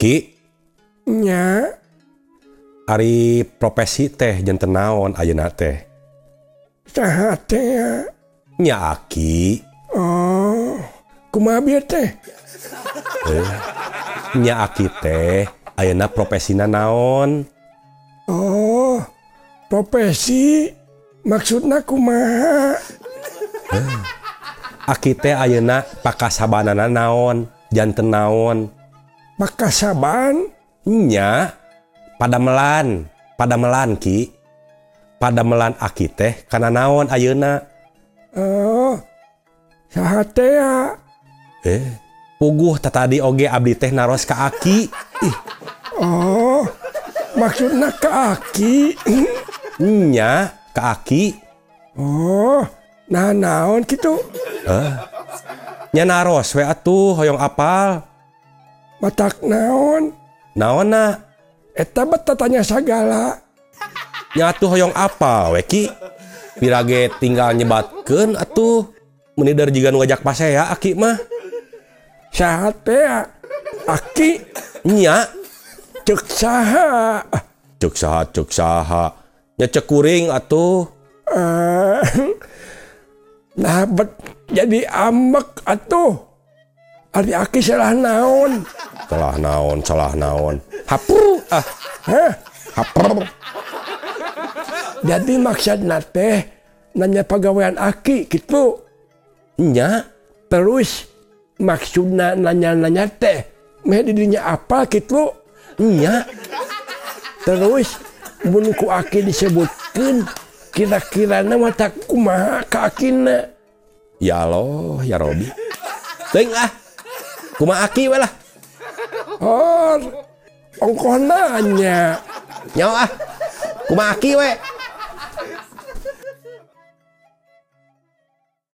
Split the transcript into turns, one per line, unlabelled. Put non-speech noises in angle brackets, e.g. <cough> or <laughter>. Ki
Nya,
Ari profesi teh janten naon ayeuna teh
saha teh ya.
Nya Aki
Oh, kumaha bieu teh?
Nya Aki teh ayeuna profesina naon
Oh, profesi maksudna kumaha?
Aki teh ayeuna pakasabanana naon janten naon
Pakasaban?
Nya padamelan padamelan Ki padamelan Aki teh kana naon ayeuna
Oh, saha teh ya.
eh puguh teh tadi oge abdi teh naros ka Aki ih
Oh, maksudna ke aki.
nya ka Aki
Oh, nah naon gitu.
nya naros we atuh hoyong apal
Matak naon?
naona
Eta beta tanya
<laughs>
sagala.
nyatu hoyong apa weki pirage tinggal nyebatkan atuh menidar juga ngajak pase ya aki mah
Saha teh ya. Aki
nya
cek saha.
cek saha cek saha nya cek kuring atuh
Eh, nah bet jadi ambek atuh. Ari aki salah naon.
salah naon salah naon hapur ah
Hah?
hapur
Jadi maksudna teh nanya pegawaian aki gitu.
nya
Terus maksudna nanya-nanya teh meh didinya apa gitu.
nya
Terus mun ku aki disebutkeun kira-kira nama tak kumaha ka akina.
ya Allah ya Robi teuing ah kuma aki we lah
Hor, ongkoh nanya.
nyawa ah kuma aki we